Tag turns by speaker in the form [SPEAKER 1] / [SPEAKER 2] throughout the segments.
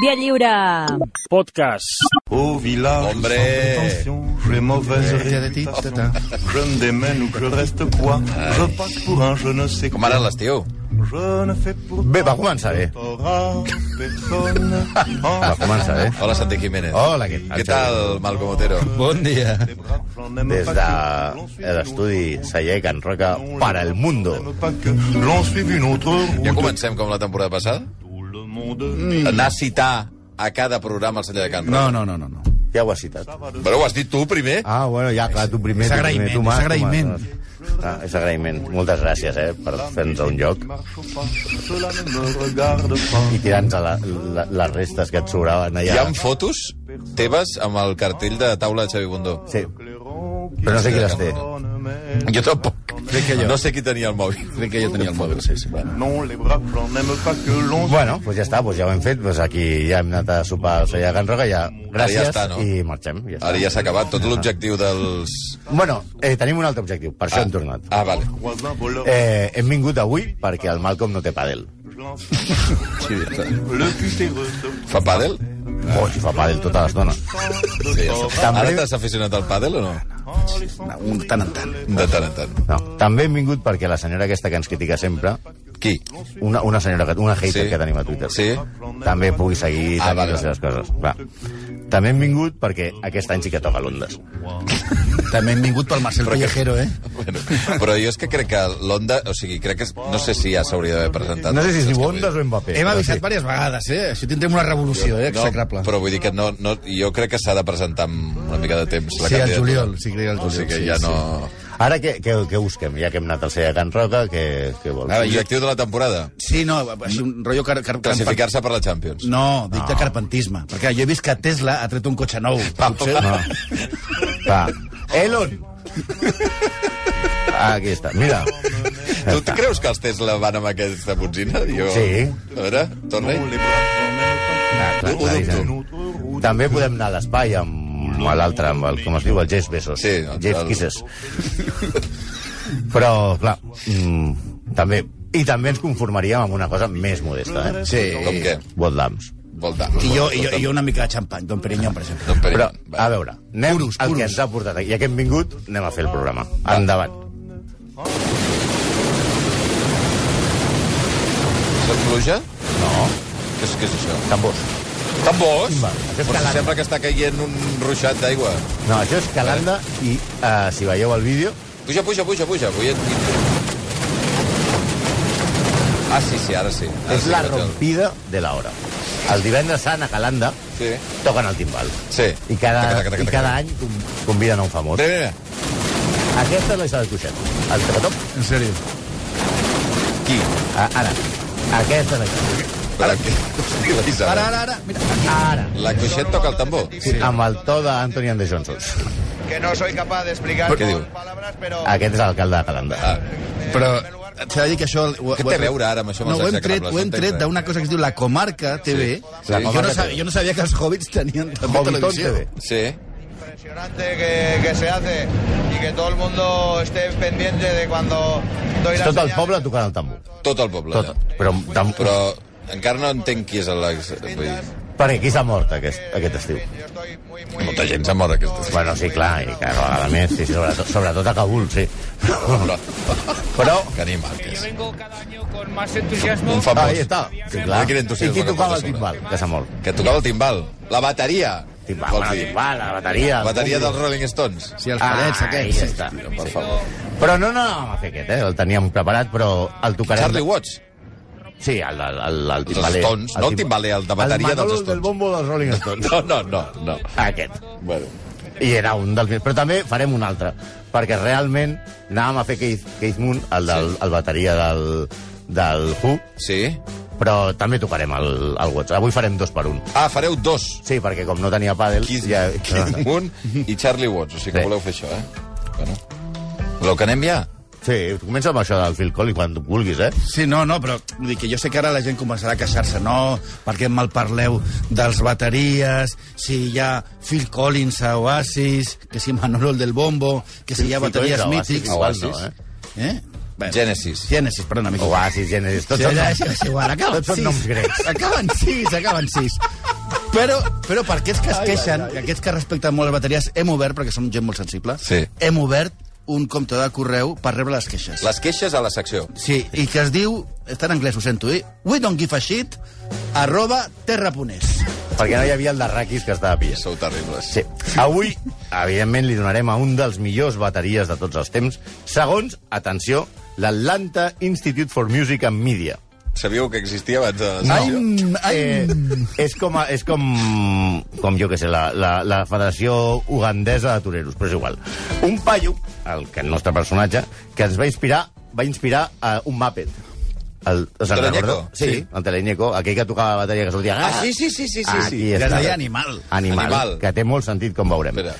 [SPEAKER 1] Via Lliure.
[SPEAKER 2] Podcast.
[SPEAKER 3] Au village, sans
[SPEAKER 4] Hombre.
[SPEAKER 3] prétention, j'ai mauvaise
[SPEAKER 5] Eh,
[SPEAKER 3] réputation. Je me démène ou je reste quoi Je passe pour un je ne sais
[SPEAKER 4] Com
[SPEAKER 3] quoi.
[SPEAKER 4] ara l'estiu.
[SPEAKER 3] Je ne fais pour
[SPEAKER 5] Bé, va començar bé.
[SPEAKER 3] personne. En
[SPEAKER 5] Va començar bé.
[SPEAKER 4] Hola, Santi Jiménez.
[SPEAKER 5] Ah. Hola, què
[SPEAKER 4] Què tal, Malcom Otero? Bon dia.
[SPEAKER 3] les bras, j'en aime
[SPEAKER 5] hein. Des
[SPEAKER 3] pas que
[SPEAKER 5] de
[SPEAKER 3] l'on suive une
[SPEAKER 5] l'estudi
[SPEAKER 3] autre
[SPEAKER 5] Celler Can Roca
[SPEAKER 3] route. On
[SPEAKER 5] para el
[SPEAKER 3] l'aime,
[SPEAKER 5] mundo.
[SPEAKER 3] j'en aime pas que l'on suive une autre
[SPEAKER 4] Ja
[SPEAKER 3] route.
[SPEAKER 4] comencem com la temporada passada?
[SPEAKER 3] Tout le monde
[SPEAKER 5] Mm.
[SPEAKER 4] Anar a citar a cada programa el celler de Can Roca.
[SPEAKER 6] no, no, no. no.
[SPEAKER 5] Ja ho has citat.
[SPEAKER 4] Però ho has dit tu primer.
[SPEAKER 5] Ah, bueno, ja, clar, tu primer...
[SPEAKER 6] És
[SPEAKER 5] tu primer,
[SPEAKER 6] agraïment,
[SPEAKER 5] tu, Marc,
[SPEAKER 6] és agraïment.
[SPEAKER 5] tu, Marc. Ah, és agraïment. Moltes gràcies, eh, per fer-nos un lloc
[SPEAKER 3] marche au pas, cela ne me regarde pas.
[SPEAKER 5] i tirar-nos a la, la, les restes que et sobraven
[SPEAKER 4] Hi
[SPEAKER 5] allà.
[SPEAKER 4] ha fotos teves amb el cartell de taula de Xavi Bundó.
[SPEAKER 5] Sí, però no sé qui les té.
[SPEAKER 4] Jo tampoc. No sé qui tenia el mòbil. Crec que jo tenia el mòbil, sí, sí.
[SPEAKER 3] Non, les braves, j'en aime pas que l'on
[SPEAKER 5] Bueno, doncs pues ja està, doncs ja ho hem fet, doncs aquí ja hem anat a sopar al Celler Can Roca, ja gràcies,
[SPEAKER 4] està, no?
[SPEAKER 5] i marxem. Ja està.
[SPEAKER 4] Ara ja s'ha acabat tot l'objectiu dels...
[SPEAKER 5] Bueno, eh, tenim un altre objectiu, per això hem tornat.
[SPEAKER 4] Ah, vale.
[SPEAKER 3] croise un voleur.
[SPEAKER 5] Eh, hem vingut avui perquè el Malcolm no té pàdel.
[SPEAKER 3] Je lance
[SPEAKER 4] Sí, ja està.
[SPEAKER 3] le cutéreux de
[SPEAKER 4] Fa pàdel?
[SPEAKER 5] Oh, si fa pàdel tota l'estona.
[SPEAKER 4] Sí, ja està.
[SPEAKER 5] També-
[SPEAKER 4] Ara t'has aficionat al pàdel o no?
[SPEAKER 6] Un tant en tant.
[SPEAKER 4] De tant en tant.
[SPEAKER 5] No, també hem vingut perquè la senyora aquesta que ens critica sempre,
[SPEAKER 4] Qui?
[SPEAKER 5] una, una senyora, que- una hater
[SPEAKER 4] Sí.
[SPEAKER 5] que tenim a Twitter,
[SPEAKER 4] Sí.
[SPEAKER 5] també pugui seguir
[SPEAKER 4] Ah,
[SPEAKER 5] ah,
[SPEAKER 4] vale,
[SPEAKER 5] les seves coses. Va. També hem vingut perquè aquest any sí que toca l'Ondes.
[SPEAKER 6] També hem vingut pel Marcel Pellejero, eh?
[SPEAKER 4] Bueno, però jo és que crec que l'Onda... O sigui, crec que... és- No sé si ja s'hauria d'haver presentat.
[SPEAKER 5] No sé si es
[SPEAKER 4] Saps
[SPEAKER 5] diu
[SPEAKER 4] què vull dir?
[SPEAKER 5] Ondes o Mbappé.
[SPEAKER 6] Hem
[SPEAKER 5] però
[SPEAKER 6] avisat
[SPEAKER 5] sí.
[SPEAKER 6] diverses vegades, eh? Així tindrem una revolució, eh? Execrable.
[SPEAKER 4] No, però vull dir que no, no, jo crec que s'ha de presentar amb una mica de temps. La
[SPEAKER 6] Sí, al
[SPEAKER 4] candidatura.
[SPEAKER 6] juliol, sí, crec que al
[SPEAKER 4] O sigui
[SPEAKER 6] juliol,
[SPEAKER 4] que
[SPEAKER 6] sí,
[SPEAKER 4] ja
[SPEAKER 6] sí.
[SPEAKER 4] no...
[SPEAKER 5] Ara què, què, què busquem? Ja que hem anat al Ceia Can Roca, què, què vols?
[SPEAKER 4] Ara, L'objectiu de la temporada?
[SPEAKER 6] Sí, no, així un rotllo... Car car
[SPEAKER 4] Classificar-se per la Champions.
[SPEAKER 6] No, dic de carpentisme. Perquè jo he vist que Tesla ha tret un cotxe nou. Potser...
[SPEAKER 5] No. Va. Elon! Aquí està. Mira,
[SPEAKER 4] Tu, tu creus que els Tesla van amb aquesta botzina? Jo...
[SPEAKER 5] Sí.
[SPEAKER 4] A veure, torna
[SPEAKER 3] les braves, j'en aime
[SPEAKER 5] Ah, clar,
[SPEAKER 4] Ho
[SPEAKER 5] clar,
[SPEAKER 4] dubto.
[SPEAKER 5] clar. També podem anar a l'espai amb l'altre, amb el, com es diu, el Jeff Bezos.
[SPEAKER 4] Sí, el-
[SPEAKER 5] Jeff
[SPEAKER 4] el-
[SPEAKER 5] Kisses. Però, clar, mm, també... I també ens conformaríem amb una cosa més modesta, eh?
[SPEAKER 6] Sí.
[SPEAKER 4] Com què?
[SPEAKER 5] Botdams.
[SPEAKER 4] Volta.
[SPEAKER 6] I jo, i, jo, I jo una mica de xampany, Don Perignon, per exemple.
[SPEAKER 4] Don Perignon.
[SPEAKER 5] Però,
[SPEAKER 4] Va.
[SPEAKER 5] a veure, anem
[SPEAKER 6] Puros,
[SPEAKER 5] al
[SPEAKER 6] puros.
[SPEAKER 5] que ens ha portat aquí. Ja que hem vingut, anem a fer el programa. Endavant.
[SPEAKER 4] És el pluja? No. Què és, què és això?
[SPEAKER 5] Tambors.
[SPEAKER 6] eh?
[SPEAKER 4] Tambors?
[SPEAKER 5] Va, això és
[SPEAKER 4] Però si
[SPEAKER 5] calanda.
[SPEAKER 4] sembla que està caient un ruixat d'aigua.
[SPEAKER 5] No, això és Calanda i, eh, si veieu el vídeo...
[SPEAKER 4] Puja, puja, puja, puja. Vull... Ah, sí, sí, ara sí. Ara
[SPEAKER 5] És
[SPEAKER 4] sí
[SPEAKER 5] la
[SPEAKER 4] que vaig al-
[SPEAKER 5] rompida de l'hora. El divendres sant a Calanda
[SPEAKER 4] Sí.
[SPEAKER 5] toquen el timbal.
[SPEAKER 4] Sí.
[SPEAKER 5] I cada,
[SPEAKER 4] Taca, taca, taca,
[SPEAKER 5] i
[SPEAKER 4] taca.
[SPEAKER 5] cada any com- conviden a un famós.
[SPEAKER 4] Mira, mira,
[SPEAKER 5] Aquesta és la Isabel Cuixet. El tocatop,
[SPEAKER 6] En sèrio.
[SPEAKER 4] mira. Qui?
[SPEAKER 5] a- ara. Aquesta és la Isabel Cuixet.
[SPEAKER 4] Ara, què? La Isabel.
[SPEAKER 6] Ara, ara, ara, mira.
[SPEAKER 5] Ara.
[SPEAKER 4] La Cuixet toca el tambor.
[SPEAKER 5] Sí. Amb el to d'Anthony and the Johnsons.
[SPEAKER 7] que no soy capaz de explicar
[SPEAKER 4] ¿Qué digo?
[SPEAKER 7] con palabras, pero
[SPEAKER 5] Aquest és l'alcalde de Calanda.
[SPEAKER 4] Ah,
[SPEAKER 6] Però s'ha de dir que això... Ho,
[SPEAKER 4] Què
[SPEAKER 6] ho-
[SPEAKER 4] té a veure ara amb això amb
[SPEAKER 6] No,
[SPEAKER 4] els
[SPEAKER 6] ho hem
[SPEAKER 4] execrables?
[SPEAKER 6] tret, ho hem
[SPEAKER 4] No entenc
[SPEAKER 6] tret
[SPEAKER 4] res.
[SPEAKER 6] d'una cosa que es diu La Comarca TV.
[SPEAKER 4] Sí. Sí.
[SPEAKER 6] La Comarca jo, no
[SPEAKER 5] Comarca
[SPEAKER 6] sabia,
[SPEAKER 5] TV.
[SPEAKER 6] jo no sabia que els hobbits tenien també
[SPEAKER 5] Hobbiton
[SPEAKER 6] televisió.
[SPEAKER 5] TV.
[SPEAKER 4] Sí.
[SPEAKER 7] impresionante que, que se hace y que todo el mundo esté pendiente de cuando doy
[SPEAKER 5] És
[SPEAKER 7] la
[SPEAKER 5] tot el
[SPEAKER 7] señal.
[SPEAKER 5] poble tocant el tambor.
[SPEAKER 4] Tot el poble.
[SPEAKER 5] Tot.
[SPEAKER 4] Tot.
[SPEAKER 5] Però, tam...
[SPEAKER 4] Però encara no entenc qui és l'ex... Vull dir,
[SPEAKER 5] Perquè qui s'ha mort aquest, aquest estiu?
[SPEAKER 7] Yo estoy muy, muy...
[SPEAKER 4] molta gent s'ha mort aquestes.
[SPEAKER 5] Bueno, sí, clar, i cada vegada més, sí, sí, sobretot, sobretot a Kabul, sí. Però...
[SPEAKER 4] Que animal que és.
[SPEAKER 8] Vengo cada año con más entusiasmo.
[SPEAKER 4] Un
[SPEAKER 5] Ah,
[SPEAKER 4] famós.
[SPEAKER 5] ahí està. Sí, clar.
[SPEAKER 4] Quin
[SPEAKER 5] I
[SPEAKER 4] entusiasme
[SPEAKER 5] qui
[SPEAKER 4] que
[SPEAKER 5] tocava
[SPEAKER 4] posa
[SPEAKER 5] el
[SPEAKER 4] sobre.
[SPEAKER 5] timbal, que s'ha mort?
[SPEAKER 4] Que tocava el timbal. La bateria.
[SPEAKER 5] Timbal,
[SPEAKER 4] vols
[SPEAKER 5] bueno,
[SPEAKER 4] dir.
[SPEAKER 5] timbal, la bateria...
[SPEAKER 4] La bateria dels Rolling Stones.
[SPEAKER 6] Sí, els palets
[SPEAKER 5] Ah, ahí
[SPEAKER 6] aquests.
[SPEAKER 5] està.
[SPEAKER 4] Per favor.
[SPEAKER 5] Però no, no, no, aquest, eh? El teníem preparat, però el tocarem...
[SPEAKER 4] Charlie Watts.
[SPEAKER 5] Sí, el, el, el, el timbaler.
[SPEAKER 4] Stones, no el timbaler, el de bateria dels
[SPEAKER 5] Manolo
[SPEAKER 4] Stones.
[SPEAKER 5] del bombo dels Rolling Stones.
[SPEAKER 4] No, no, no, no.
[SPEAKER 5] Aquest.
[SPEAKER 4] Bueno.
[SPEAKER 5] I era un dels... Però també farem un altre, perquè realment anàvem a fer Keith, Keith Moon, el, del, el bateria del, del Who,
[SPEAKER 4] Sí?
[SPEAKER 5] però també tocarem el, el Watts. Avui farem dos per un.
[SPEAKER 4] Ah, fareu dos.
[SPEAKER 5] Sí, perquè com no tenia pàdel... Ah.
[SPEAKER 4] Keith, Keith Moon i Charlie Watts. O sigui que
[SPEAKER 5] Sí.
[SPEAKER 4] voleu fer això, eh? Bueno. Voleu que anem ja?
[SPEAKER 5] Sí, comença amb això del Phil Collins quan tu vulguis, eh?
[SPEAKER 6] Sí, no, no, però vull dir que jo sé que ara la gent començarà a queixar-se, no, perquè mal parleu dels bateries, si hi ha Phil Collins a Oasis, que si Manolo el del Bombo, que si hi ha
[SPEAKER 5] Phil Collins
[SPEAKER 6] bateries
[SPEAKER 5] a Oasis,
[SPEAKER 6] mítics...
[SPEAKER 5] a Oasis.
[SPEAKER 6] eh? eh? Bueno,
[SPEAKER 4] Genesis.
[SPEAKER 6] Genesis, perdona, amic.
[SPEAKER 5] Oasis, Genesis,
[SPEAKER 6] Sí,
[SPEAKER 5] tots són
[SPEAKER 6] ja,
[SPEAKER 5] noms,
[SPEAKER 6] ja, és igual, acaben
[SPEAKER 5] tots són
[SPEAKER 6] sis.
[SPEAKER 5] noms grecs.
[SPEAKER 6] Acaben sis, acaben sis. Però, però per aquests que es queixen, que aquests que respecten molt les bateries, hem obert, perquè som gent molt sensible,
[SPEAKER 4] Sí.
[SPEAKER 6] hem obert un compte de correu per rebre les queixes.
[SPEAKER 4] Les queixes a la secció.
[SPEAKER 6] Sí, i que es diu, està en anglès, ho sento, eh? we don't give a shit, arroba terraponés.
[SPEAKER 5] Perquè no hi havia el de Raquis que estava pillat.
[SPEAKER 4] Sou terribles.
[SPEAKER 5] Sí. Avui, evidentment, li donarem a un dels millors bateries de tots els temps, segons, atenció, l'Atlanta Institute for Music and Media.
[SPEAKER 4] Sabíeu que existia abans de la
[SPEAKER 5] Ai,
[SPEAKER 4] secció?
[SPEAKER 5] ai. Eh, és com, a- és com, com jo que sé, la, la, la Federació Ugandesa de Toreros, però és igual. Un paio, el, que el nostre personatge, que ens va inspirar va inspirar a un Muppet. El, o
[SPEAKER 4] Teleñeco?
[SPEAKER 5] recordeu? Sí,
[SPEAKER 4] Sí.
[SPEAKER 5] sí, el Teleñeco, aquell que tocava la bateria que sortia...
[SPEAKER 4] Ah, sí, sí, sí, sí, sí, sí.
[SPEAKER 5] Aquí
[SPEAKER 6] Que es
[SPEAKER 5] està.
[SPEAKER 6] deia Animal.
[SPEAKER 5] Animal,
[SPEAKER 4] Animal.
[SPEAKER 5] Animal, que té molt sentit, com veurem.
[SPEAKER 4] Espera.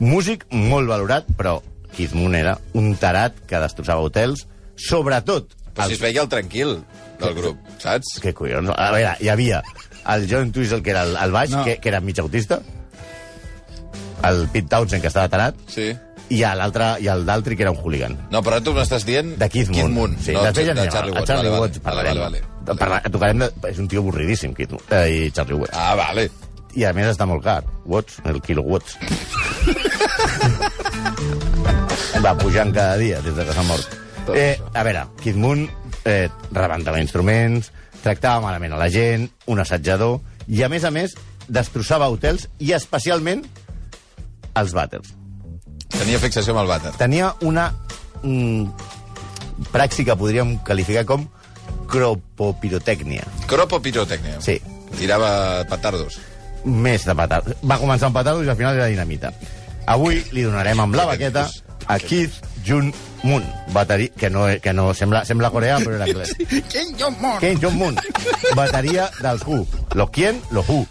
[SPEAKER 5] Músic molt valorat, però Keith Moon era un tarat que destrossava hotels, sobretot...
[SPEAKER 4] Però si es veia el tranquil del grup, saps?
[SPEAKER 5] Que collons? A veure, hi havia el John Twistle, que era el, el baix,
[SPEAKER 6] No.
[SPEAKER 5] no. que, que era mig autista, el Pete Townsend, que estava tarat,
[SPEAKER 4] Sí.
[SPEAKER 5] i a l'altre, i el d'altri, que era un hooligan.
[SPEAKER 4] No, però tu m'estàs dient...
[SPEAKER 5] De Keith Moon.
[SPEAKER 4] Sí,
[SPEAKER 5] Sí,
[SPEAKER 4] no,
[SPEAKER 5] després ja
[SPEAKER 4] de
[SPEAKER 5] anem
[SPEAKER 4] Charlie
[SPEAKER 5] a
[SPEAKER 4] Watts.
[SPEAKER 5] Charlie
[SPEAKER 4] vale,
[SPEAKER 5] Watts.
[SPEAKER 4] vale,
[SPEAKER 5] parlarem.
[SPEAKER 4] vale, vale.
[SPEAKER 5] Parla, tocarem de, és un tio avorridíssim, Keith Moon, eh, i Charlie Watts.
[SPEAKER 4] Ah, vale.
[SPEAKER 5] I a més està molt car. Watts, el quilo Watts. Va pujant cada dia des de que s'ha mort.
[SPEAKER 4] Tot
[SPEAKER 5] Eh, a veure, Kid Moon eh, rebentava instruments, tractava malament a la gent, un assetjador, i a més a més destrossava hotels i especialment els vàters.
[SPEAKER 4] Tenia fixació amb el vàter.
[SPEAKER 5] Tenia una mm, praxi que podríem qualificar com cropopirotècnia.
[SPEAKER 4] Cropo pirotècnia.
[SPEAKER 5] Sí.
[SPEAKER 4] Tirava petardos.
[SPEAKER 5] més de petards. Va començar amb petards i al final era dinamita. Avui li donarem amb la baqueta a Keith Jun Moon, bateria, que no, que no sembla, sembla coreà, però era anglès.
[SPEAKER 6] Quin jo mor!
[SPEAKER 5] Keith Jun Moon, bateria dels Who. Los quien, los Who.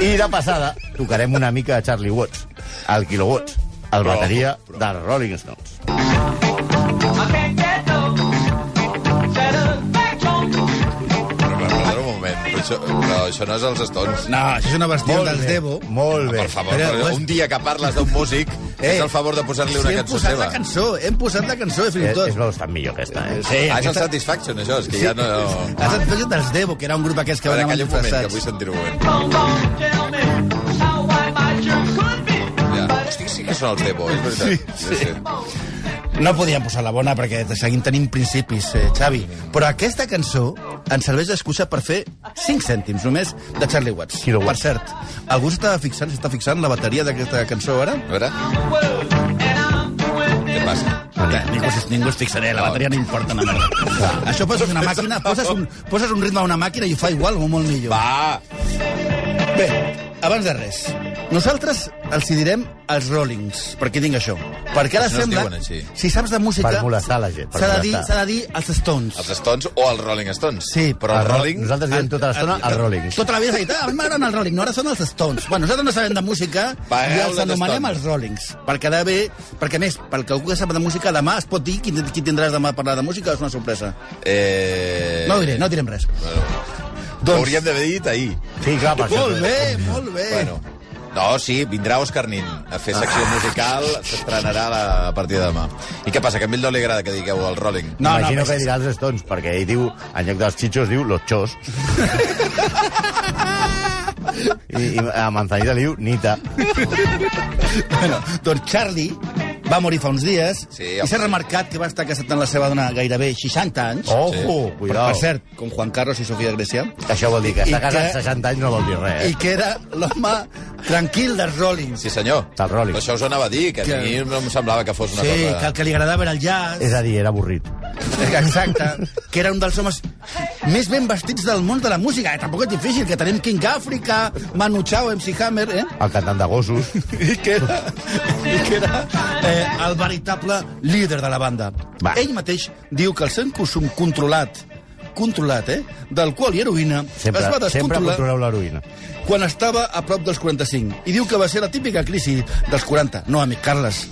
[SPEAKER 5] I de passada tocarem una mica de Charlie Watts, el Kilo Watts, el bateria dels Rolling Stones.
[SPEAKER 4] Però, però, perdona un moment. Però això, però això no és els Stones. Ah,
[SPEAKER 6] No, això és una bastida dels
[SPEAKER 5] bé,
[SPEAKER 6] Devo.
[SPEAKER 5] Molt bé.
[SPEAKER 4] Per favor,
[SPEAKER 6] Però,
[SPEAKER 4] però,
[SPEAKER 6] pues-
[SPEAKER 4] un dia que parles d'un músic, eh, és el favor de posar-li una
[SPEAKER 6] sí, hem
[SPEAKER 4] cançó
[SPEAKER 6] posat
[SPEAKER 4] seva.
[SPEAKER 6] la cançó, hem posat la cançó, fins i
[SPEAKER 5] Eh, És,
[SPEAKER 6] tot.
[SPEAKER 5] és veus tan millor aquesta, eh?
[SPEAKER 4] Ah, és el
[SPEAKER 6] aquesta-
[SPEAKER 4] Satisfaction, això, és que ja no... A
[SPEAKER 6] Has fet dels Devo, que era un grup aquests que van
[SPEAKER 4] veure, calla
[SPEAKER 6] anar
[SPEAKER 4] un moment, que
[SPEAKER 6] disfressats.
[SPEAKER 4] vull sentir un moment. Ja. Hosti, sí que són els Debo, és veritat. Sí, sí.
[SPEAKER 6] No podíem posar la bona perquè seguim tenint principis, eh, Xavi. Però aquesta cançó ens serveix d'excusa per fer 5 cèntims només de Charlie Watts.
[SPEAKER 5] Kilo Watts.
[SPEAKER 6] Per cert, algú s'està fixant, s'està fixant la bateria d'aquesta cançó ara?
[SPEAKER 4] A veure... Què passa?
[SPEAKER 6] Eh, ningú, es- ningú es fixaré, la bateria no importa una merda. Això poses una màquina, poses un, poses un ritme a una màquina i ho fa igual o molt millor.
[SPEAKER 4] Va!
[SPEAKER 6] Bé, abans de res, nosaltres els hi direm els Rollings, per què tinc això? Perquè ara
[SPEAKER 4] No es
[SPEAKER 6] sembla...
[SPEAKER 4] diuen així.
[SPEAKER 6] Si saps de música...
[SPEAKER 5] Per molestar la gent, per
[SPEAKER 6] S'ha de, dir,
[SPEAKER 5] molestar.
[SPEAKER 6] s'ha de dir els Stones.
[SPEAKER 4] Els Stones o els Rolling Stones.
[SPEAKER 6] Sí,
[SPEAKER 4] però
[SPEAKER 5] El
[SPEAKER 4] el
[SPEAKER 5] Ro-
[SPEAKER 4] Rolling...
[SPEAKER 5] Nosaltres diem
[SPEAKER 6] Ah,
[SPEAKER 5] tota l'estona el Rolling.
[SPEAKER 6] Tota la vida s'ha dit, ah, a mi m'agraden els Rollings, no, ara són els Stones. Bueno, nosaltres no sabem de música
[SPEAKER 4] Pagueu
[SPEAKER 6] i
[SPEAKER 4] els
[SPEAKER 6] els anomenem
[SPEAKER 4] Stones.
[SPEAKER 6] els Rollings. Per quedar bé, perquè a més, pel que algú que sap de música, demà es pot dir qui, qui tindràs demà a parlar de música, és una sorpresa.
[SPEAKER 4] Eh...
[SPEAKER 6] No ho diré, Doncs- no direm res.
[SPEAKER 4] Ho hauríem d'haver dit ahir.
[SPEAKER 5] Sí, clar, per això.
[SPEAKER 6] Molt bé, molt bé.
[SPEAKER 4] eh, Bueno. No, sí, vindrà Òscar Nin a fer secció
[SPEAKER 6] Ah.
[SPEAKER 4] musical, s'estrenarà la- a partir de demà. I què passa, que a ell no li agrada que digueu el Rolling?
[SPEAKER 5] No, Imagino
[SPEAKER 6] però
[SPEAKER 5] no, que dirà els Stones, perquè ell diu, en lloc dels xitxos, diu los xos. I, I a Manzanita li diu nita.
[SPEAKER 6] Bueno, doncs Charlie va morir fa uns dies
[SPEAKER 4] Sí,
[SPEAKER 6] i
[SPEAKER 4] home.
[SPEAKER 6] s'ha remarcat que va estar casat amb la seva dona gairebé 60 anys.
[SPEAKER 5] Ojo,
[SPEAKER 4] Sí.
[SPEAKER 5] sí.
[SPEAKER 6] per,
[SPEAKER 5] Oh, cuidao.
[SPEAKER 6] per cert, com Juan Carlos i Sofia Grecia.
[SPEAKER 5] Això vol dir que
[SPEAKER 6] I
[SPEAKER 5] s'ha casat
[SPEAKER 6] que-
[SPEAKER 5] 60 anys no vol dir res.
[SPEAKER 6] I
[SPEAKER 5] Eh?
[SPEAKER 6] que era l'home tranquil dels Rollins.
[SPEAKER 4] Sí, senyor.
[SPEAKER 5] Del Rolling.
[SPEAKER 4] Però això us ho anava a dir, que,
[SPEAKER 6] Que-
[SPEAKER 4] a mi no em semblava que fos una
[SPEAKER 6] Sí,
[SPEAKER 4] cosa...
[SPEAKER 6] que el que li agradava era el jazz.
[SPEAKER 5] És a dir, era avorrit.
[SPEAKER 6] Exacte. Que era un dels homes més ben vestits del món de la música. Eh, tampoc és difícil, que tenim King Africa, Manu Chao, MC Hammer, eh?
[SPEAKER 5] El cantant de gossos.
[SPEAKER 6] i que era, i que era eh, el veritable líder de la banda.
[SPEAKER 5] Va.
[SPEAKER 6] Va. Ell mateix diu que el seu consum controlat controlat, eh? D'alcohol i heroïna
[SPEAKER 5] Sempre,
[SPEAKER 6] es va
[SPEAKER 5] sempre
[SPEAKER 6] descontrolar
[SPEAKER 5] controleu l'heroïna.
[SPEAKER 6] quan estava a prop dels 45 i diu que va ser la típica crisi dels 40 no, amic Carles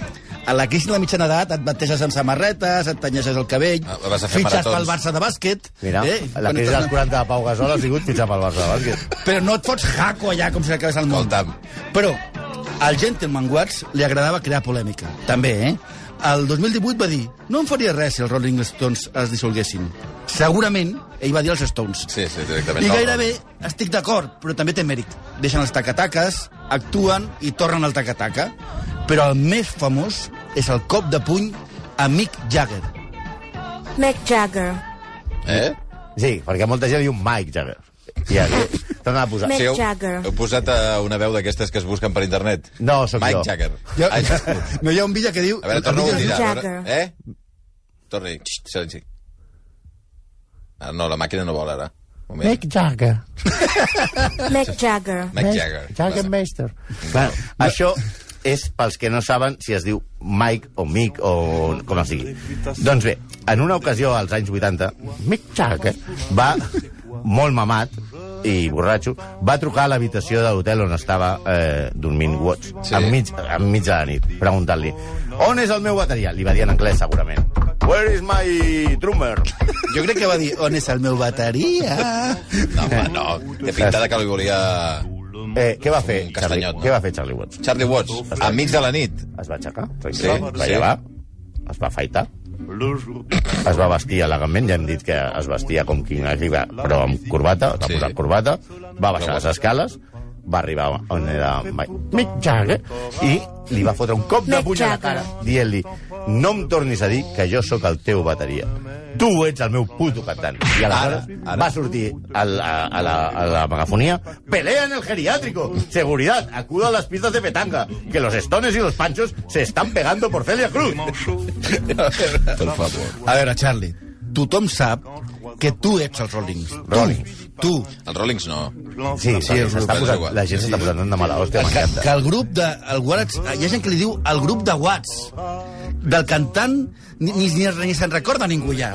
[SPEAKER 6] a la crisi de la mitjana edat et bateges amb samarretes, et tanyeixes el cabell,
[SPEAKER 4] Ah, vas a fer
[SPEAKER 6] fitxes
[SPEAKER 4] maratons.
[SPEAKER 6] pel Barça de bàsquet...
[SPEAKER 5] Mira, eh? la
[SPEAKER 6] quan
[SPEAKER 5] crisi
[SPEAKER 6] estàs
[SPEAKER 5] dels 40 de Pau Gasol ha sigut fitxar pel Barça de bàsquet.
[SPEAKER 6] però no et fots jaco allà com si acabés el món.
[SPEAKER 4] Escolta'm.
[SPEAKER 6] Però al Gentleman Watts li agradava crear polèmica. També, eh? El 2018 va dir no em faria res si els Rolling Stones es dissolguessin. Segurament Ell va dir els Stones.
[SPEAKER 4] Sí, sí, directament.
[SPEAKER 6] I
[SPEAKER 4] No,
[SPEAKER 6] gairebé estic d'acord, però també té mèrit. Deixen els tacataques, actuen i tornen al tacataca. Però el més famós és el cop de puny a Mick Jagger.
[SPEAKER 1] Mick Jagger.
[SPEAKER 4] Eh?
[SPEAKER 5] Sí, perquè molta gent diu Mike Jagger. I ja, torna a posar.
[SPEAKER 1] Mick
[SPEAKER 4] Sí, heu,
[SPEAKER 1] Jagger.
[SPEAKER 4] heu posat eh, una veu d'aquestes que es busquen per internet?
[SPEAKER 5] No, sóc
[SPEAKER 4] Mike
[SPEAKER 5] jo.
[SPEAKER 4] Jagger.
[SPEAKER 6] Jo,
[SPEAKER 4] Ai,
[SPEAKER 6] no hi ha un vídeo que diu...
[SPEAKER 4] a veure, torna a
[SPEAKER 6] el vídeo
[SPEAKER 4] dir.
[SPEAKER 1] Mick
[SPEAKER 4] a veure.
[SPEAKER 1] Jagger.
[SPEAKER 4] Eh? Torni. Xt, silenci. Ah, no, la màquina no vol ara. Un moment.
[SPEAKER 9] Mick Jagger.
[SPEAKER 1] Mick Jagger.
[SPEAKER 4] Mick Jagger.
[SPEAKER 9] Jaggermeister.
[SPEAKER 5] Clar, Això és pels que no saben si es diu Mike o Mick o com es digui. Doncs bé, en una ocasió als anys 80, Mick Jagger va, molt mamat i borratxo, va trucar a l'habitació de l'hotel on estava eh, dormint Watts,
[SPEAKER 4] Sí.
[SPEAKER 5] sí. enmig, enmig de la nit, preguntant-li on és el meu bateria? Li va dir en anglès, segurament. Where is my drummer?
[SPEAKER 6] Jo crec que va dir, on és el meu bateria?
[SPEAKER 4] No, home, no. Té pinta de que li volia...
[SPEAKER 5] Eh, què va fer,
[SPEAKER 4] Un
[SPEAKER 5] Charlie,
[SPEAKER 4] castanyot, no?
[SPEAKER 5] què va fer Charlie Watts?
[SPEAKER 4] Charlie Watts, a mig de la nit.
[SPEAKER 5] Es va aixecar,
[SPEAKER 4] Sí,
[SPEAKER 5] sí, va
[SPEAKER 4] sí.
[SPEAKER 5] llevar, es va afaitar, es va vestir elegantment, ja hem dit que es vestia com King arriba, però amb corbata, es va
[SPEAKER 4] Sí.
[SPEAKER 5] posar corbata, va baixar les escales, va arribar on era Mike- Mick Jagger i li va fotre un cop de
[SPEAKER 1] Mick
[SPEAKER 5] puny a la
[SPEAKER 1] Jagger.
[SPEAKER 5] cara dient-li, no em tornis a dir que jo sóc el teu bateria. Tu ets el meu puto cantant. I aleshores
[SPEAKER 4] Ara, ara.
[SPEAKER 5] va sortir a la, a la, a la megafonia Pelea en el geriátrico. Seguridad, acuda a las pistas de petanga. Que los estones y los panchos se están pegando por Celia Cruz.
[SPEAKER 4] Per favor.
[SPEAKER 6] A veure, Charlie, tothom sap que tu ets els Rollings.
[SPEAKER 5] Rollings.
[SPEAKER 6] Tu,
[SPEAKER 4] Els Rollings no.
[SPEAKER 5] Sí, sí,
[SPEAKER 4] és
[SPEAKER 5] s'està
[SPEAKER 4] brutal,
[SPEAKER 5] posant,
[SPEAKER 4] igual.
[SPEAKER 5] la gent s'està posant de mala hòstia,
[SPEAKER 6] que,
[SPEAKER 5] m'encanta.
[SPEAKER 6] que el grup de... El Watts, hi ha gent que li diu el grup de Watts. Del cantant ni, ni, ni, ni se'n recorda ningú ja.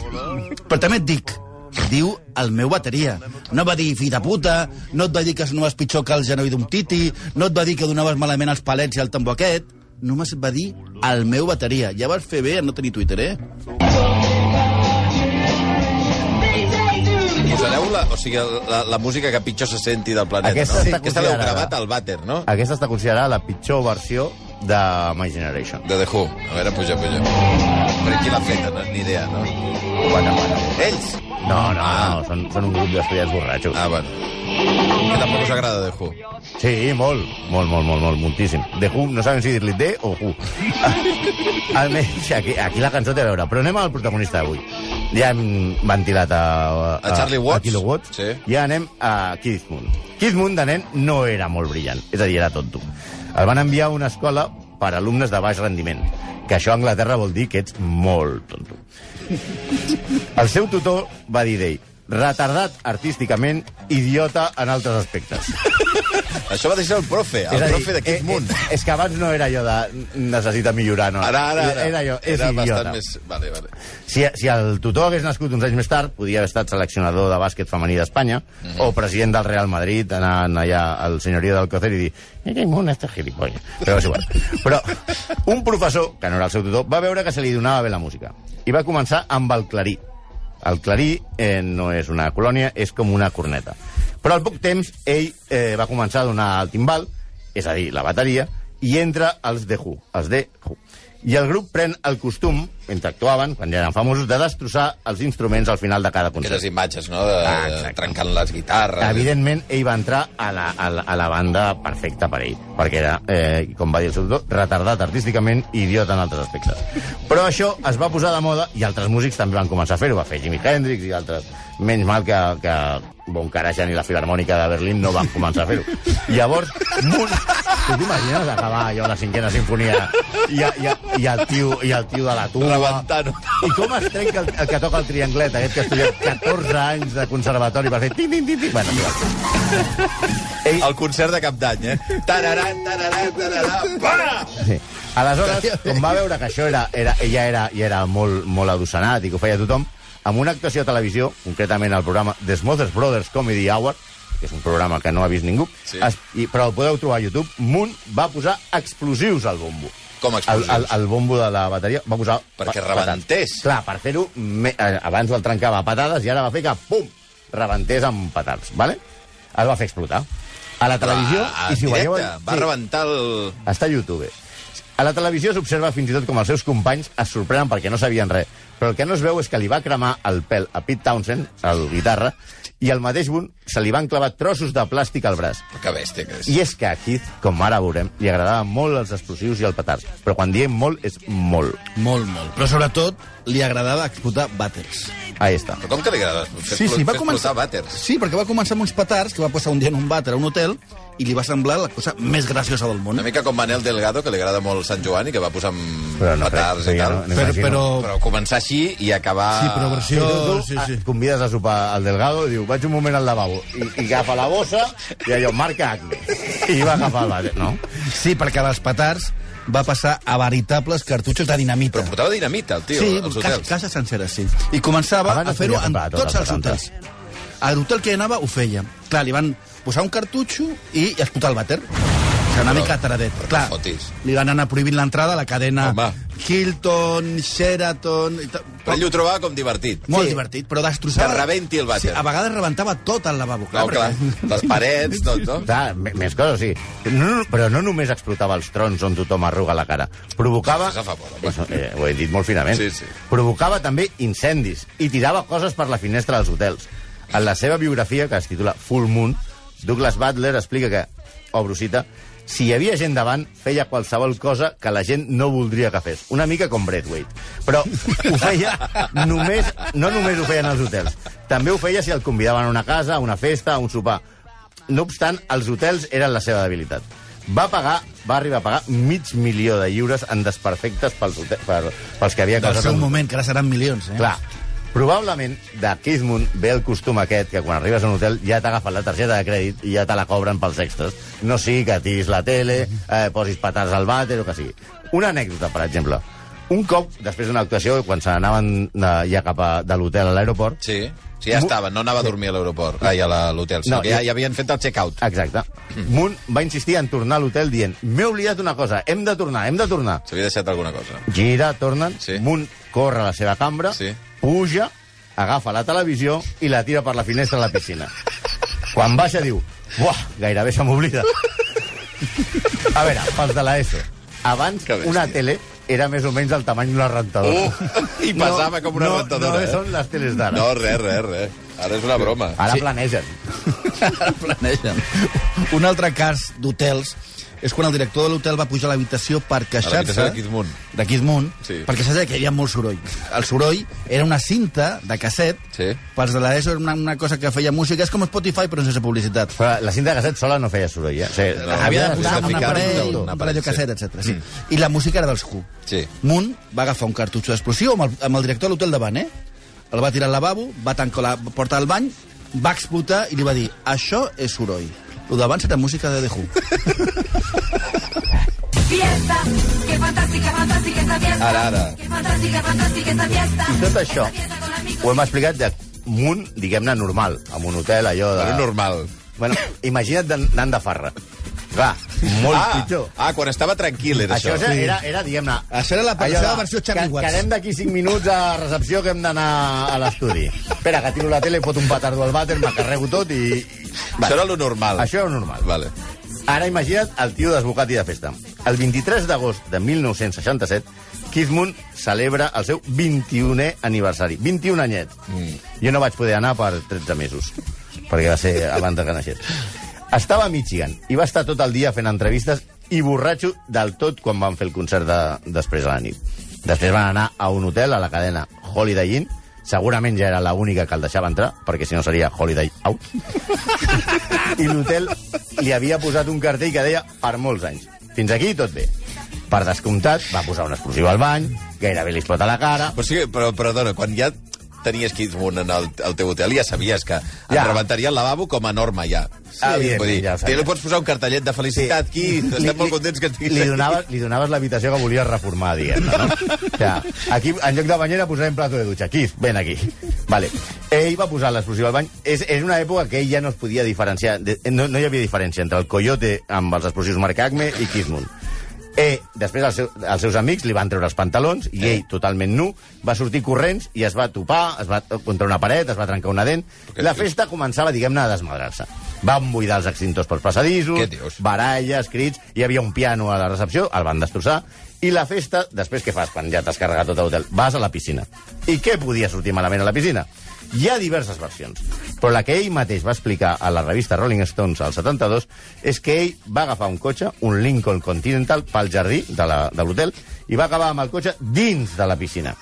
[SPEAKER 6] Però també et dic, diu el meu bateria. No va dir fill de puta, no et va dir que sonaves pitjor que el genoll d'un titi, no et va dir que donaves malament els palets i el tambor aquest, només et va dir el meu bateria. Ja vas fer bé en no tenir Twitter, eh?
[SPEAKER 4] Posareu la, o sigui, la, la música que pitjor se senti del planeta,
[SPEAKER 5] Aquesta
[SPEAKER 4] no?
[SPEAKER 5] està
[SPEAKER 4] Aquesta l'heu
[SPEAKER 5] considerada.
[SPEAKER 4] gravat al vàter, no?
[SPEAKER 5] Aquesta està considerada la pitjor versió de My Generation.
[SPEAKER 4] De The Who. A veure, puja, puja. Per qui l'ha feta, no? Ni idea, no?
[SPEAKER 5] Bueno, bueno.
[SPEAKER 4] Ells?
[SPEAKER 5] No, no, no, són, són un grup d'estudiants borratxos.
[SPEAKER 4] Ah, bueno. Que tampoc us agrada The Who.
[SPEAKER 5] Sí, molt, molt, molt, molt, molt, moltíssim. De Who, no sabem si dir-li de o Who. Almenys aquí, aquí la cançó té a veure, però anem al protagonista d'avui. Ja hem ventilat a...
[SPEAKER 4] A Charlie Watts?
[SPEAKER 5] A Kilo Watts.
[SPEAKER 4] Sí.
[SPEAKER 5] Ja anem a Keith Moon. Keith Moon, de nen, no era molt brillant, és a dir, era tonto. El van enviar a una escola per alumnes de baix rendiment, que això a Anglaterra vol dir que ets molt tonto. El seu tutor va dir d'ell, retardat artísticament, idiota en altres aspectes.
[SPEAKER 4] Això va deixar el profe, el
[SPEAKER 5] És a dir,
[SPEAKER 4] profe de Kid Moon.
[SPEAKER 5] Eh, eh, és que abans no era allò de necessita millorar, no.
[SPEAKER 4] Ara, ara, ara.
[SPEAKER 5] Era allò, és
[SPEAKER 4] Era
[SPEAKER 5] idiota.
[SPEAKER 4] bastant més... Vale, vale.
[SPEAKER 5] Si, si el tutor hagués nascut uns anys més tard, podia haver estat seleccionador de bàsquet femení d'Espanya
[SPEAKER 4] Mhm.
[SPEAKER 5] mm -hmm. o president del Real Madrid, anant allà al senyoria del Cocer i dir «Eres un este gilipolles». Però és igual. Però un professor, que no era el seu tutor, va veure que se li donava bé la música i va començar amb el clarí. El clarí eh, no és una colònia, és com una corneta. Però al poc temps ell eh, va començar a donar el timbal, és a dir, la bateria, i entra els de Who, els de Who. I el grup pren el costum, mentre actuaven, quan ja eren famosos, de destrossar els instruments al final de cada concert.
[SPEAKER 4] Aquelles imatges, no?, de,
[SPEAKER 5] Ah,
[SPEAKER 4] de
[SPEAKER 5] exacte.
[SPEAKER 4] trencant les guitarres.
[SPEAKER 5] Evidentment, ell va entrar a la, a la, a la banda perfecta per ell, perquè era, eh, com va dir el seu tutor, retardat artísticament i idiota en altres aspectes. Però això es va posar de moda i altres músics també van començar a fer-ho. Va fer Jimi Hendrix i altres. Menys mal que, que Bon Karajan i la Filarmònica de Berlín no van començar a fer-ho. Llavors, Moon... Tu t'imagines acabar allò la cinquena sinfonia i, i, i, el tio, i el tio de la tuba...
[SPEAKER 4] Rebentant-ho.
[SPEAKER 5] I com es trenca el, el que toca el trianglet, aquest que ha estudiat 14 anys de conservatori per fer... Tin, tin, tin, tin. Bueno, igual.
[SPEAKER 4] El concert de cap d'any, eh? Tararan, tararan, tararan, para!
[SPEAKER 5] sí. Aleshores, com va veure que això era, era, ja era, ja era molt, molt adocenat i que ho feia tothom, amb una actuació a televisió, concretament al programa The Smothers Brothers Comedy Hour, que és un programa que no ha vist ningú,
[SPEAKER 4] Sí.
[SPEAKER 5] es, i, però el podeu trobar a YouTube, Moon va posar explosius al bombo.
[SPEAKER 4] Com explosius?
[SPEAKER 5] Al, al, al bombo de la bateria va posar...
[SPEAKER 4] Perquè
[SPEAKER 5] pa- patat.
[SPEAKER 4] rebentés.
[SPEAKER 5] Clar, per fer-ho, me- eh, abans el trencava a patades i ara va fer que, pum, rebentés amb petards, vale? Es va fer explotar. A la televisió,
[SPEAKER 4] Ah,
[SPEAKER 5] i si ho veieu...
[SPEAKER 4] directe,
[SPEAKER 5] en-
[SPEAKER 4] Va rebentar el...
[SPEAKER 5] està a YouTube. A la televisió s'observa fins i tot com els seus companys es sorprenen perquè no sabien res, però el que no es veu és que li va cremar el pèl a Pete Townsend, el guitarra, i al mateix punt se li van clavar trossos de plàstic al braç.
[SPEAKER 4] Que bèstia que és.
[SPEAKER 5] I és que a Keith, com ara veurem, li agradava molt els explosius i el petard. Però quan diem molt, és molt.
[SPEAKER 6] Molt, molt. Però sobretot li agradava explotar vàters.
[SPEAKER 5] Ahí està.
[SPEAKER 4] Però com que li agrada? Fer
[SPEAKER 6] Sí, sí, va
[SPEAKER 4] fer
[SPEAKER 6] començar...
[SPEAKER 4] explotar vàters.
[SPEAKER 6] Sí, perquè va començar amb uns petards que va posar un dia en un vàter a un hotel i li va semblar la cosa més graciosa del món.
[SPEAKER 4] Una mica com Manel Delgado, que li agrada molt Sant Joan i que va posar amb
[SPEAKER 5] Però no crec,
[SPEAKER 4] petards
[SPEAKER 5] però
[SPEAKER 4] i
[SPEAKER 5] ja
[SPEAKER 4] tal.
[SPEAKER 5] no- no
[SPEAKER 4] però,
[SPEAKER 5] imagino.
[SPEAKER 4] però... però començar així i acabar...
[SPEAKER 9] Sí, però versió...
[SPEAKER 5] Oh, Sí, sí, sí. ah, Convides a sopar al Delgado i diu, vaig un moment al lavabo. I, i agafa la bossa i allò, marca acne. I va agafar el vàter, no?
[SPEAKER 6] Sí, perquè dels petards va passar a veritables cartutxos de dinamita.
[SPEAKER 4] Però portava dinamita, el tio,
[SPEAKER 6] sí,
[SPEAKER 4] als
[SPEAKER 6] ca
[SPEAKER 4] hotels.
[SPEAKER 6] cases senceres, sí. I començava
[SPEAKER 5] Abans
[SPEAKER 6] a
[SPEAKER 5] es
[SPEAKER 6] fer-ho
[SPEAKER 5] podia
[SPEAKER 6] en
[SPEAKER 5] comprar a
[SPEAKER 6] tots
[SPEAKER 5] totes
[SPEAKER 6] els
[SPEAKER 5] les
[SPEAKER 6] hotels. A l'hotel que anava ho feia. Clar, li van posar un cartutxo i explotar el vàter. O sigui, una mica taradet.
[SPEAKER 4] no
[SPEAKER 6] Clar,
[SPEAKER 4] fotis.
[SPEAKER 6] li van anar prohibint l'entrada a la cadena
[SPEAKER 4] Home.
[SPEAKER 6] Hilton, Sheraton... i tal.
[SPEAKER 4] Però ell ho trobava com divertit.
[SPEAKER 6] Molt divertit, però destrossava...
[SPEAKER 4] Que rebenti el vàter.
[SPEAKER 5] ah,
[SPEAKER 6] Sí, a vegades rebentava tot el lavabo.
[SPEAKER 4] No, clar,
[SPEAKER 6] perquè-
[SPEAKER 4] les parets, tot, no?
[SPEAKER 5] Clar, m- més coses, sí. No, no, però no només explotava els trons on tothom arruga la cara. Provocava...
[SPEAKER 4] Estàs a favor, home.
[SPEAKER 5] Això, eh, ho he dit molt finament.
[SPEAKER 4] Sí, sí.
[SPEAKER 5] Provocava també incendis i tirava coses per la finestra dels hotels. En la seva biografia, que es titula Full Moon, Douglas Butler explica que, obro cita, si hi havia gent davant, feia qualsevol cosa que la gent no voldria que fes. Una mica com Braithwaite. Però ho feia només... No només ho feien als hotels. També ho feia si el convidaven a una casa, a una festa, a un sopar. No obstant, els hotels eren la seva debilitat. Va pagar, va arribar a pagar mig milió de lliures en desperfectes pels, hote- per, pels que havia
[SPEAKER 6] Del
[SPEAKER 5] causat...
[SPEAKER 6] seu
[SPEAKER 5] un-
[SPEAKER 6] moment, que ara seran milions, eh?
[SPEAKER 5] Clar, probablement de Kismun ve el costum aquest que quan arribes a un hotel ja t'agafen la targeta de crèdit i ja te la cobren pels extras. No sigui que tiris la tele, eh, posis patats al vàter o que sigui. Una anècdota, per exemple. Un cop, després d'una actuació, quan se n'anaven eh, ja cap a, de l'hotel a l'aeroport,
[SPEAKER 4] Sí, sí, ja estava, no anava a dormir a l'aeroport, ai, a la- a l'hotel, sinó
[SPEAKER 5] No,
[SPEAKER 4] que ja,
[SPEAKER 5] i-
[SPEAKER 4] ja havien fet el check-out.
[SPEAKER 5] Exacte. Moon va insistir en tornar a l'hotel dient m'he oblidat una cosa, hem de tornar, hem de tornar.
[SPEAKER 4] S'havia deixat alguna cosa.
[SPEAKER 5] Gira, tornen,
[SPEAKER 4] Sí.
[SPEAKER 5] sí. Moon corre a la seva cambra,
[SPEAKER 4] Sí.
[SPEAKER 5] puja, agafa la televisió i la tira per la finestra de la piscina. Quan baixa diu, buah, gairebé se m'oblida. A veure, pels de l'ESO. Abans,
[SPEAKER 4] Que bèstia.
[SPEAKER 5] una tele era més o menys del tamany d'una rentadora.
[SPEAKER 4] Uh, i pesava com una
[SPEAKER 5] no,
[SPEAKER 4] rentadora,
[SPEAKER 5] No,
[SPEAKER 4] eh?
[SPEAKER 5] són les teles d'ara.
[SPEAKER 4] No, res, res, res. Ara és una broma.
[SPEAKER 5] Ara sí. planegen.
[SPEAKER 6] planegen. Un altre cas d'hotels és quan el director de l'hotel va pujar a l'habitació per queixar-se...
[SPEAKER 4] l'habitació de Kidmunt.
[SPEAKER 6] De Kidmunt,
[SPEAKER 4] Sí.
[SPEAKER 6] per queixar-se que hi havia molt soroll. El soroll era una cinta de casset,
[SPEAKER 4] Sí.
[SPEAKER 6] pels de l'ESO era una, una cosa que feia música, és com Spotify però sense publicitat.
[SPEAKER 5] Però la cinta de casset sola no feia soroll, eh? O sigui,
[SPEAKER 4] No,
[SPEAKER 6] Havia
[SPEAKER 4] havia
[SPEAKER 6] de posar
[SPEAKER 4] de
[SPEAKER 6] un
[SPEAKER 4] ficar
[SPEAKER 6] aparell,
[SPEAKER 4] un-
[SPEAKER 6] un
[SPEAKER 4] un
[SPEAKER 6] aparell de
[SPEAKER 4] aparell,
[SPEAKER 6] casset, etc. Sí. Mm. I la música era dels Who.
[SPEAKER 4] Sí.
[SPEAKER 6] Munt va agafar un cartutxo d'explosió amb, el- amb el director de l'hotel davant, eh? El va tirar al lavabo, va tancar la porta del bany, va explotar i li va dir això és soroll. Lo d'abans era música de The Who.
[SPEAKER 10] Fiesta, qué fantástica, fantástica esta fiesta.
[SPEAKER 4] Ara, ara.
[SPEAKER 10] Qué fantástica, fantástica esta fiesta.
[SPEAKER 5] I tot això
[SPEAKER 10] Fiesta con amigos.
[SPEAKER 5] ho hem explicat de munt, diguem-ne, normal, amb un hotel, allò de...
[SPEAKER 4] Era normal.
[SPEAKER 5] Bueno, imagina't d'an- anant de farra. Clar, molt
[SPEAKER 4] ah,
[SPEAKER 5] pitjor.
[SPEAKER 4] Ah, quan estava tranquil era
[SPEAKER 5] Això,
[SPEAKER 4] això.
[SPEAKER 5] era, era, era diguem-ne...
[SPEAKER 6] Això era la-
[SPEAKER 5] allò
[SPEAKER 6] això era la
[SPEAKER 5] de,
[SPEAKER 6] versió Charlie
[SPEAKER 5] que-
[SPEAKER 6] Watts.
[SPEAKER 5] Quedem d'aquí 5 minuts a recepció que hem d'anar a l'estudi. Espera, que tiro la tele, foto un petardo al vàter, m'acarrego tot i... i...
[SPEAKER 4] Això era lo normal.
[SPEAKER 5] Això era normal.
[SPEAKER 4] Vale.
[SPEAKER 5] Ara imagina't el tio desbocat i de festa. El 23 d'agost de 1967, Keith Moon celebra el seu 21è aniversari. 21 anyets. Mm. Jo no vaig poder anar per 13 mesos, perquè va ser abans de que naixés. Estava a Michigan i va estar tot el dia fent entrevistes i borratxo del tot quan van fer el concert de, després a la nit. Després van anar a un hotel a la cadena Holiday Inn, segurament ja era l'única que el deixava entrar, perquè si no seria Holiday Out i l'hotel li havia posat un cartell que deia per molts anys. Fins aquí tot bé. Per descomptat, va posar un explosiu al bany, gairebé li explota la cara...
[SPEAKER 4] Però, sí, que- però, perdona, quan ja tenies Kidmunt en el, el teu hotel, ja sabies que ja.
[SPEAKER 5] Ja.
[SPEAKER 4] et rebentaria el lavabo com a norma, ja. Ah,
[SPEAKER 5] Sí, evidentment,
[SPEAKER 4] Vull dir,
[SPEAKER 5] ja ho
[SPEAKER 4] tu
[SPEAKER 5] sabia.
[SPEAKER 4] li pots posar un cartellet de felicitat, sí. Keith, estem
[SPEAKER 5] Li-
[SPEAKER 4] molt
[SPEAKER 5] li-
[SPEAKER 4] contents que estiguis
[SPEAKER 5] Li
[SPEAKER 4] aquí.
[SPEAKER 5] donaves, li donaves l'habitació que volies reformar, diguem no? O sea, aquí, en lloc de banyera, posarem plato de dutxa. Aquí, ven aquí. Vale. Ell va posar l'explosiu al bany. És, és una època que ell ja no es podia diferenciar... de- No, no hi havia diferència entre el coyote amb els explosius marca Acme i Kismunt. Eh, després els, seu, els seus amics li van treure els pantalons i
[SPEAKER 4] Eh.
[SPEAKER 5] ell, totalment nu, va sortir corrents i es va topar, es va contra una paret, es va trencar una dent. La festa començava, diguem-ne, a desmadrar-se. Van buidar els extintors pels passadissos,
[SPEAKER 4] Què dius?
[SPEAKER 5] baralles, crits, hi havia un piano a la recepció, el van destrossar, i la festa, després què fas quan ja t'has carregat tot l'hotel? Vas a la piscina. I què podia sortir malament a la piscina? Hi ha diverses versions, però la que ell mateix va explicar a la revista Rolling Stones al 72 és que ell va agafar un cotxe, un Lincoln Continental, pel jardí de la- de l'hotel, i va acabar amb el cotxe dins de la piscina.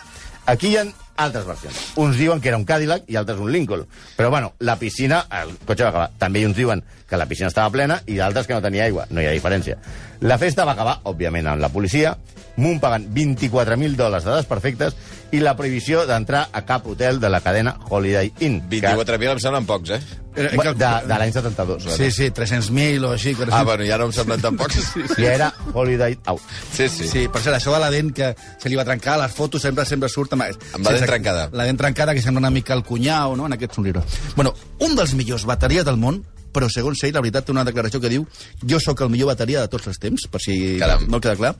[SPEAKER 5] Aquí hi ha altres versions. Uns diuen que era un Cadillac i altres un Lincoln. Però, bueno, la piscina, el cotxe va acabar. També uns diuen que la piscina estava plena i d'altres que no tenia aigua. No hi ha diferència. La festa va acabar, òbviament, amb la policia, Munt pagant 24.000 dòlars de desperfectes i la prohibició d'entrar a cap hotel de la cadena Holiday Inn. que-
[SPEAKER 4] 24.000 em semblen pocs, eh?
[SPEAKER 5] de, de l'any 72.
[SPEAKER 6] Sí, sí, 300.000 o així. 400.
[SPEAKER 4] Ah, bueno, ja no em semblen tan pocs. Sí,
[SPEAKER 5] I era Holiday Out.
[SPEAKER 4] sí.
[SPEAKER 6] Sí. sí, per cert, això de la dent que se li va trencar, les fotos sempre sempre surt amb...
[SPEAKER 4] Amb la dent trencada.
[SPEAKER 6] La dent trencada, que sembla una mica el cunyau, no?, en aquest somriure. Bueno, un dels millors bateries del món, però segons ell, la veritat, té una declaració que diu jo sóc el millor bateria de tots els temps, per si
[SPEAKER 4] Caram.
[SPEAKER 6] no queda clar.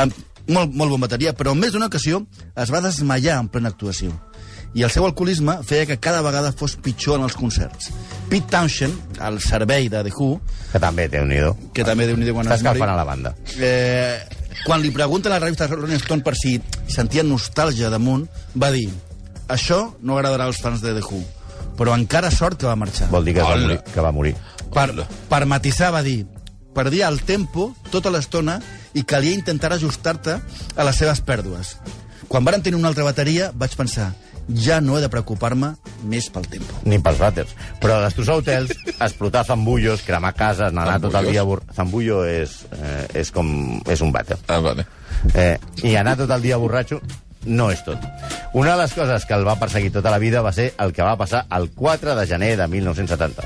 [SPEAKER 6] Amb, molt, molt bon bateria, però en més d'una ocasió es va desmallar en plena actuació. I el seu alcoholisme feia que cada vegada fos pitjor en els concerts. Pete Townshend, al servei de The Who,
[SPEAKER 5] Que també, té un idó.
[SPEAKER 6] que també déu nhi quan
[SPEAKER 5] Està
[SPEAKER 6] es mori.
[SPEAKER 5] escalfant a la banda.
[SPEAKER 6] Eh, quan li pregunta a la revista Rolling Stone per si sentia nostàlgia damunt, va dir això no agradarà als fans de The Who, però encara sort que va marxar.
[SPEAKER 5] Vol dir que, es va
[SPEAKER 4] Hola.
[SPEAKER 5] morir, que va morir.
[SPEAKER 6] Per, per matisar va dir perdia el tempo tota l'estona i calia intentar ajustar-te a les seves pèrdues. Quan varen tenir una altra bateria, vaig pensar ja no he de preocupar-me més pel tempo.
[SPEAKER 5] ni pels vàters. Però destrossar hotels, explotar zambullos, cremar cases, anar tot el
[SPEAKER 4] Zambullos?
[SPEAKER 5] dia... Bor... Zambullo és, eh, és com... és un vàter.
[SPEAKER 4] Ah, vale.
[SPEAKER 5] Eh, I anar tot el dia borratxo no és tot. Una de les coses que el va perseguir tota la vida va ser el que va passar el 4 de gener de 1970.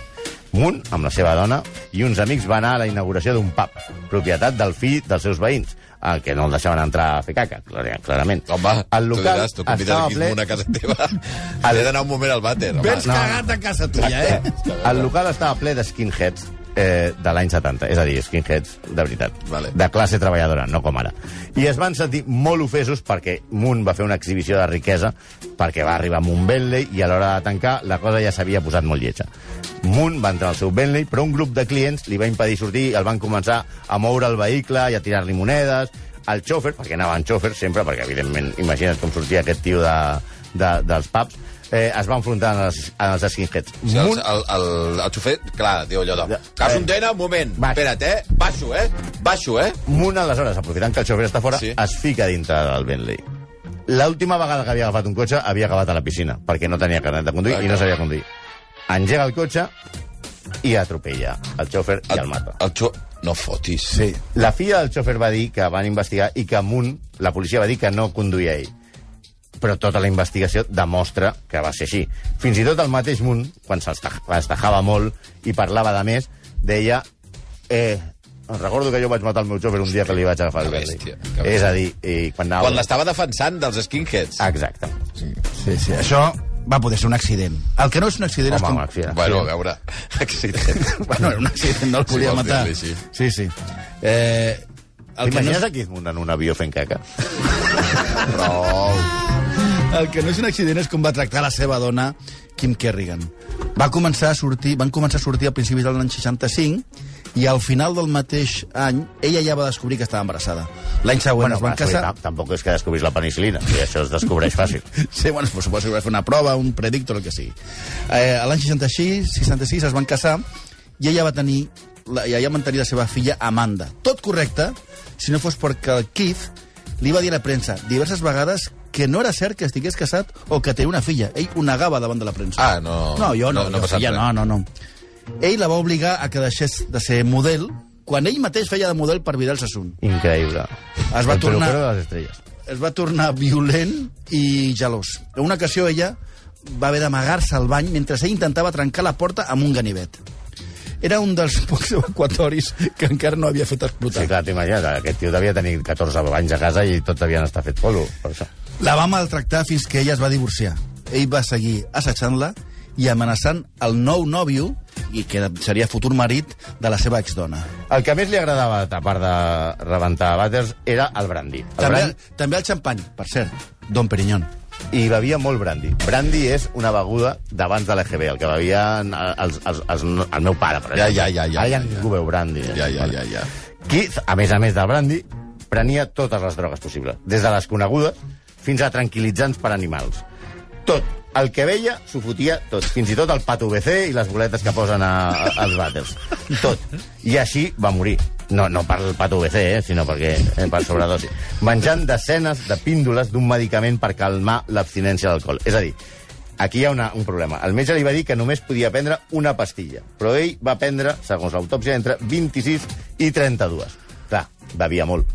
[SPEAKER 5] Moon, amb la seva dona, i uns amics van anar a la inauguració d'un pub, propietat del fill dels seus veïns, el que no el deixaven entrar a fer caca, clar- clarament.
[SPEAKER 4] Home,
[SPEAKER 5] el
[SPEAKER 4] tu
[SPEAKER 5] local
[SPEAKER 4] diràs, tu convides
[SPEAKER 5] estava
[SPEAKER 4] aquí
[SPEAKER 5] ple...
[SPEAKER 4] ple... una casa teva. He d'anar un moment al vàter. home.
[SPEAKER 6] Vens
[SPEAKER 5] no.
[SPEAKER 6] cagat a casa tuya, eh?
[SPEAKER 5] El local estava ple de skinheads eh, de l'any 70, és a dir, skinheads de veritat,
[SPEAKER 4] Vale.
[SPEAKER 5] de classe treballadora, no com ara. I es van sentir molt ofesos perquè Moon va fer una exhibició de riquesa perquè va arribar amb un Bentley i a l'hora de tancar la cosa ja s'havia posat molt lletja. Moon va entrar al seu Bentley, però un grup de clients li va impedir sortir i el van començar a moure el vehicle i a tirar-li monedes. El xòfer, perquè anava en xòfer sempre, perquè evidentment imagina't com sortia aquest tio de, de, dels pubs, eh, es va enfrontar als, als skinheads.
[SPEAKER 4] O sigui,
[SPEAKER 5] Moon- Eh.
[SPEAKER 4] el, el, el, el xofer, clar, diu allò de... Cas un tena, un moment,
[SPEAKER 5] Va.
[SPEAKER 4] espera't, eh? Baixo, eh? Baixo, eh?
[SPEAKER 5] Moon, aleshores, aprofitant que el xofer està fora,
[SPEAKER 4] Sí.
[SPEAKER 5] sí. es fica dintre del Bentley. L'última vegada que havia agafat un cotxe havia acabat a la piscina, perquè no tenia carnet de conduir i no sabia conduir. Engega el cotxe i atropella el xòfer i el mata.
[SPEAKER 4] El xo... No fotis.
[SPEAKER 6] Sí.
[SPEAKER 5] La filla del xòfer va dir que van investigar i que Moon, la policia va dir que no conduïa ell. Però tota la investigació demostra que va ser així. Fins i tot el mateix Moon, quan se'ls ta- es tajava molt i parlava de més, deia... Eh, recordo que jo vaig matar el meu xòfer un dia que li vaig agafar el
[SPEAKER 4] Que
[SPEAKER 5] Bentley.
[SPEAKER 4] bèstia, que bèstia.
[SPEAKER 5] És a dir, i quan anava...
[SPEAKER 4] Quan l'estava defensant dels skinheads.
[SPEAKER 5] Exacte.
[SPEAKER 6] Sí, sí, això va poder ser un accident. El que no és un accident és
[SPEAKER 5] Home,
[SPEAKER 6] com...
[SPEAKER 5] un accident.
[SPEAKER 4] Bueno, a veure... Accident.
[SPEAKER 6] Bueno, era un accident, no el
[SPEAKER 4] Si
[SPEAKER 6] podia
[SPEAKER 4] vols
[SPEAKER 6] matar.
[SPEAKER 4] dir-li així.
[SPEAKER 6] Sí, sí. Eh, el, que no
[SPEAKER 5] T'imagines
[SPEAKER 6] és,
[SPEAKER 5] no... aquí Moon en un avió fent caca?
[SPEAKER 6] el que no és un accident és com va tractar la seva dona Kim Kerrigan. Va començar a sortir, van començar a sortir a principis de l'any 65 i al final del mateix any ella ja va descobrir que estava embarassada. L'any següent es van
[SPEAKER 5] va, sorry,
[SPEAKER 6] casar...
[SPEAKER 5] tam- Tampoc és que descobrís la penicilina. Sí, això es descobreix fàcil.
[SPEAKER 6] Sí, bueno, suposo que va fer una prova, un predictor, el que sigui. Eh, a l'any 66, 66 es van casar i ella va tenir la, i ella van tenir la seva filla Amanda. Tot correcte, si no fos perquè el Keith li va dir a la premsa diverses vegades que no era cert que estigués casat o que tenia una filla. Ell ho negava davant de la premsa.
[SPEAKER 4] Ah, no.
[SPEAKER 6] No, jo
[SPEAKER 4] No, no
[SPEAKER 6] no. No,
[SPEAKER 4] ha
[SPEAKER 6] no,
[SPEAKER 4] passat
[SPEAKER 6] filla,
[SPEAKER 4] res.
[SPEAKER 6] no, no, no. Ell la va obligar a que deixés de ser model quan ell mateix feia de model per Vidal Sassoon.
[SPEAKER 5] Increïble.
[SPEAKER 6] Es va
[SPEAKER 5] el
[SPEAKER 6] tornar-
[SPEAKER 5] peluquero de les estrelles.
[SPEAKER 6] es va tornar violent i gelós. En una ocasió ella va haver d'amagar-se al bany mentre ell intentava trencar la porta amb un ganivet. Era un dels pocs evacuatoris que encara no havia fet explotar.
[SPEAKER 5] Sí, clar, t'imagines, aquest tio devia tenir 14 anys a casa i tots havien estat fet polo, per això.
[SPEAKER 6] La va maltractar fins que ella es va divorciar. Ell va seguir assetjant-la i amenaçant el nou nòvio i que seria futur marit de la seva exdona.
[SPEAKER 5] El que més li agradava, a part de rebentar vàters, era el brandy. El
[SPEAKER 6] També,
[SPEAKER 5] brandy
[SPEAKER 6] també el xampany, per cert, Don Perignon.
[SPEAKER 5] i bevia molt brandy. Brandy és una beguda d'abans de l'EGB, el que bevia eh, els, els, els, el meu pare, per
[SPEAKER 4] Ja,
[SPEAKER 5] exemple.
[SPEAKER 4] ja, ja, ja,
[SPEAKER 5] Ara
[SPEAKER 4] ja,
[SPEAKER 5] ja ningú beu brandy.
[SPEAKER 4] Ja, ja, ja, ja.
[SPEAKER 5] Qui, a més a més del brandy, prenia totes les drogues possibles, des de les conegudes fins a tranquil·litzants per animals. Tot. El que veia s'ho fotia tot, fins i tot el pato BC i les boletes que posen a, a, als vàters. Tot. I així va morir. No, no per el pato BC, eh, sinó perquè, eh, per sobredosi. Menjant desenes de píndoles d'un medicament per calmar l'abstinència d'alcohol. És a dir, Aquí hi ha una, un problema. El metge li va dir que només podia prendre una pastilla, però ell va prendre, segons l'autòpsia, entre 26 i 32. Clar, Ah, bevia molt.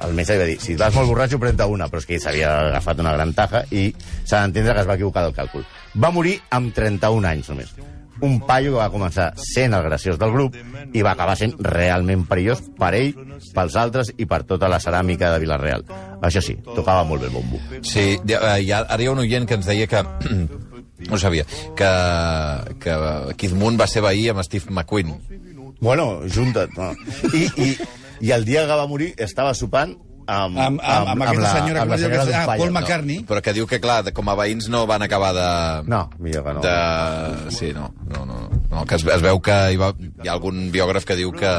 [SPEAKER 5] El metge li va dir, si vas molt borratxo, pren-te una, però és que ell s'havia agafat una gran taja i s'ha d'entendre que es va equivocar del càlcul. Va morir amb 31 anys només. Un paio que va començar sent el graciós del grup i va acabar sent realment perillós per ell, pels altres i per tota la ceràmica de Vilareal. Això sí, tocava molt bé el bombo.
[SPEAKER 4] Sí, ja, eh, hi ha, ara hi ha un oient que ens deia que... no ho sabia, que, que Keith Moon va ser veí amb Steve McQueen.
[SPEAKER 5] Bueno, junta't. No. I, i, I el dia que va morir estava sopant amb,
[SPEAKER 6] Amb, amb, amb, amb aquesta senyora
[SPEAKER 5] amb la
[SPEAKER 6] que va dir
[SPEAKER 5] senyora
[SPEAKER 6] que...
[SPEAKER 5] d'un
[SPEAKER 6] Ah,
[SPEAKER 5] paio,
[SPEAKER 6] Paul
[SPEAKER 5] no.
[SPEAKER 6] McCartney.
[SPEAKER 4] Però que diu que, clar, de- com a veïns no van acabar de...
[SPEAKER 5] No, millor que no.
[SPEAKER 4] de... Sí, no, no, no, no, no que es, es veu que hi, va, hi ha algun biògraf que diu que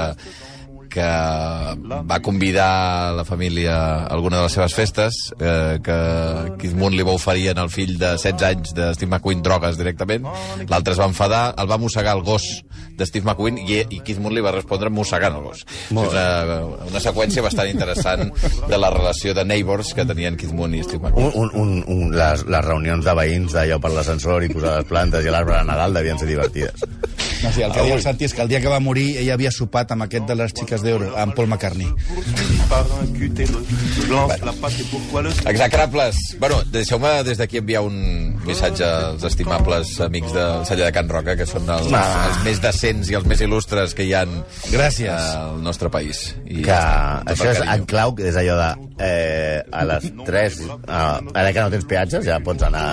[SPEAKER 4] que va convidar la família a alguna de les seves festes, eh, que Keith Moon li va oferir al fill de 16 anys de Steve McQueen drogues directament, l'altre es va enfadar, el va mossegar el gos de Steve McQueen i, i Keith Moon li va respondre mossegant el gos.
[SPEAKER 5] Molt
[SPEAKER 4] És una, una seqüència bastant interessant de la relació de neighbors que tenien Keith Moon i Steve McQueen.
[SPEAKER 5] Un, un, un, un, les, les reunions de veïns d'allò per l'ascensor i posar les plantes i l'arbre de Nadal devien ser divertides.
[SPEAKER 6] No, sí, el que diu el Santi és que el dia que va morir ella havia sopat amb aquest de les xiques d'euro, amb Paul McCartney.
[SPEAKER 3] par un cutéreux. Je lance la patte et pourquoi le
[SPEAKER 4] Exacrables. Bueno, deixeu-me des d'aquí enviar un missatge als estimables amics del celler de Can Roca, que són els,
[SPEAKER 5] Ah.
[SPEAKER 4] els més decents i els més il·lustres que hi ha
[SPEAKER 6] Gràcies.
[SPEAKER 4] al nostre país. I
[SPEAKER 5] Que
[SPEAKER 4] ja està, amb tot
[SPEAKER 5] això
[SPEAKER 4] el
[SPEAKER 5] és
[SPEAKER 4] carinyo.
[SPEAKER 5] en clau, que és allò de... Eh, a les 3... Eh, ara que no tens peatges ja pots anar...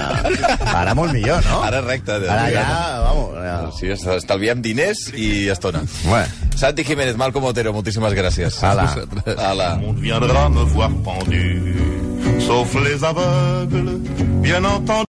[SPEAKER 5] Ara molt millor, no?
[SPEAKER 4] Ara recte. de-
[SPEAKER 5] Ara ja, vamos... Ja.
[SPEAKER 4] Sí, es- estalviem diners i estona.
[SPEAKER 5] Bueno.
[SPEAKER 4] Santi Jiménez, Malcom Otero, moltíssimes gràcies.
[SPEAKER 5] Ala.
[SPEAKER 4] Ala.
[SPEAKER 3] monde viendra me voir pendu. Sauf les aveugles, bien entendu.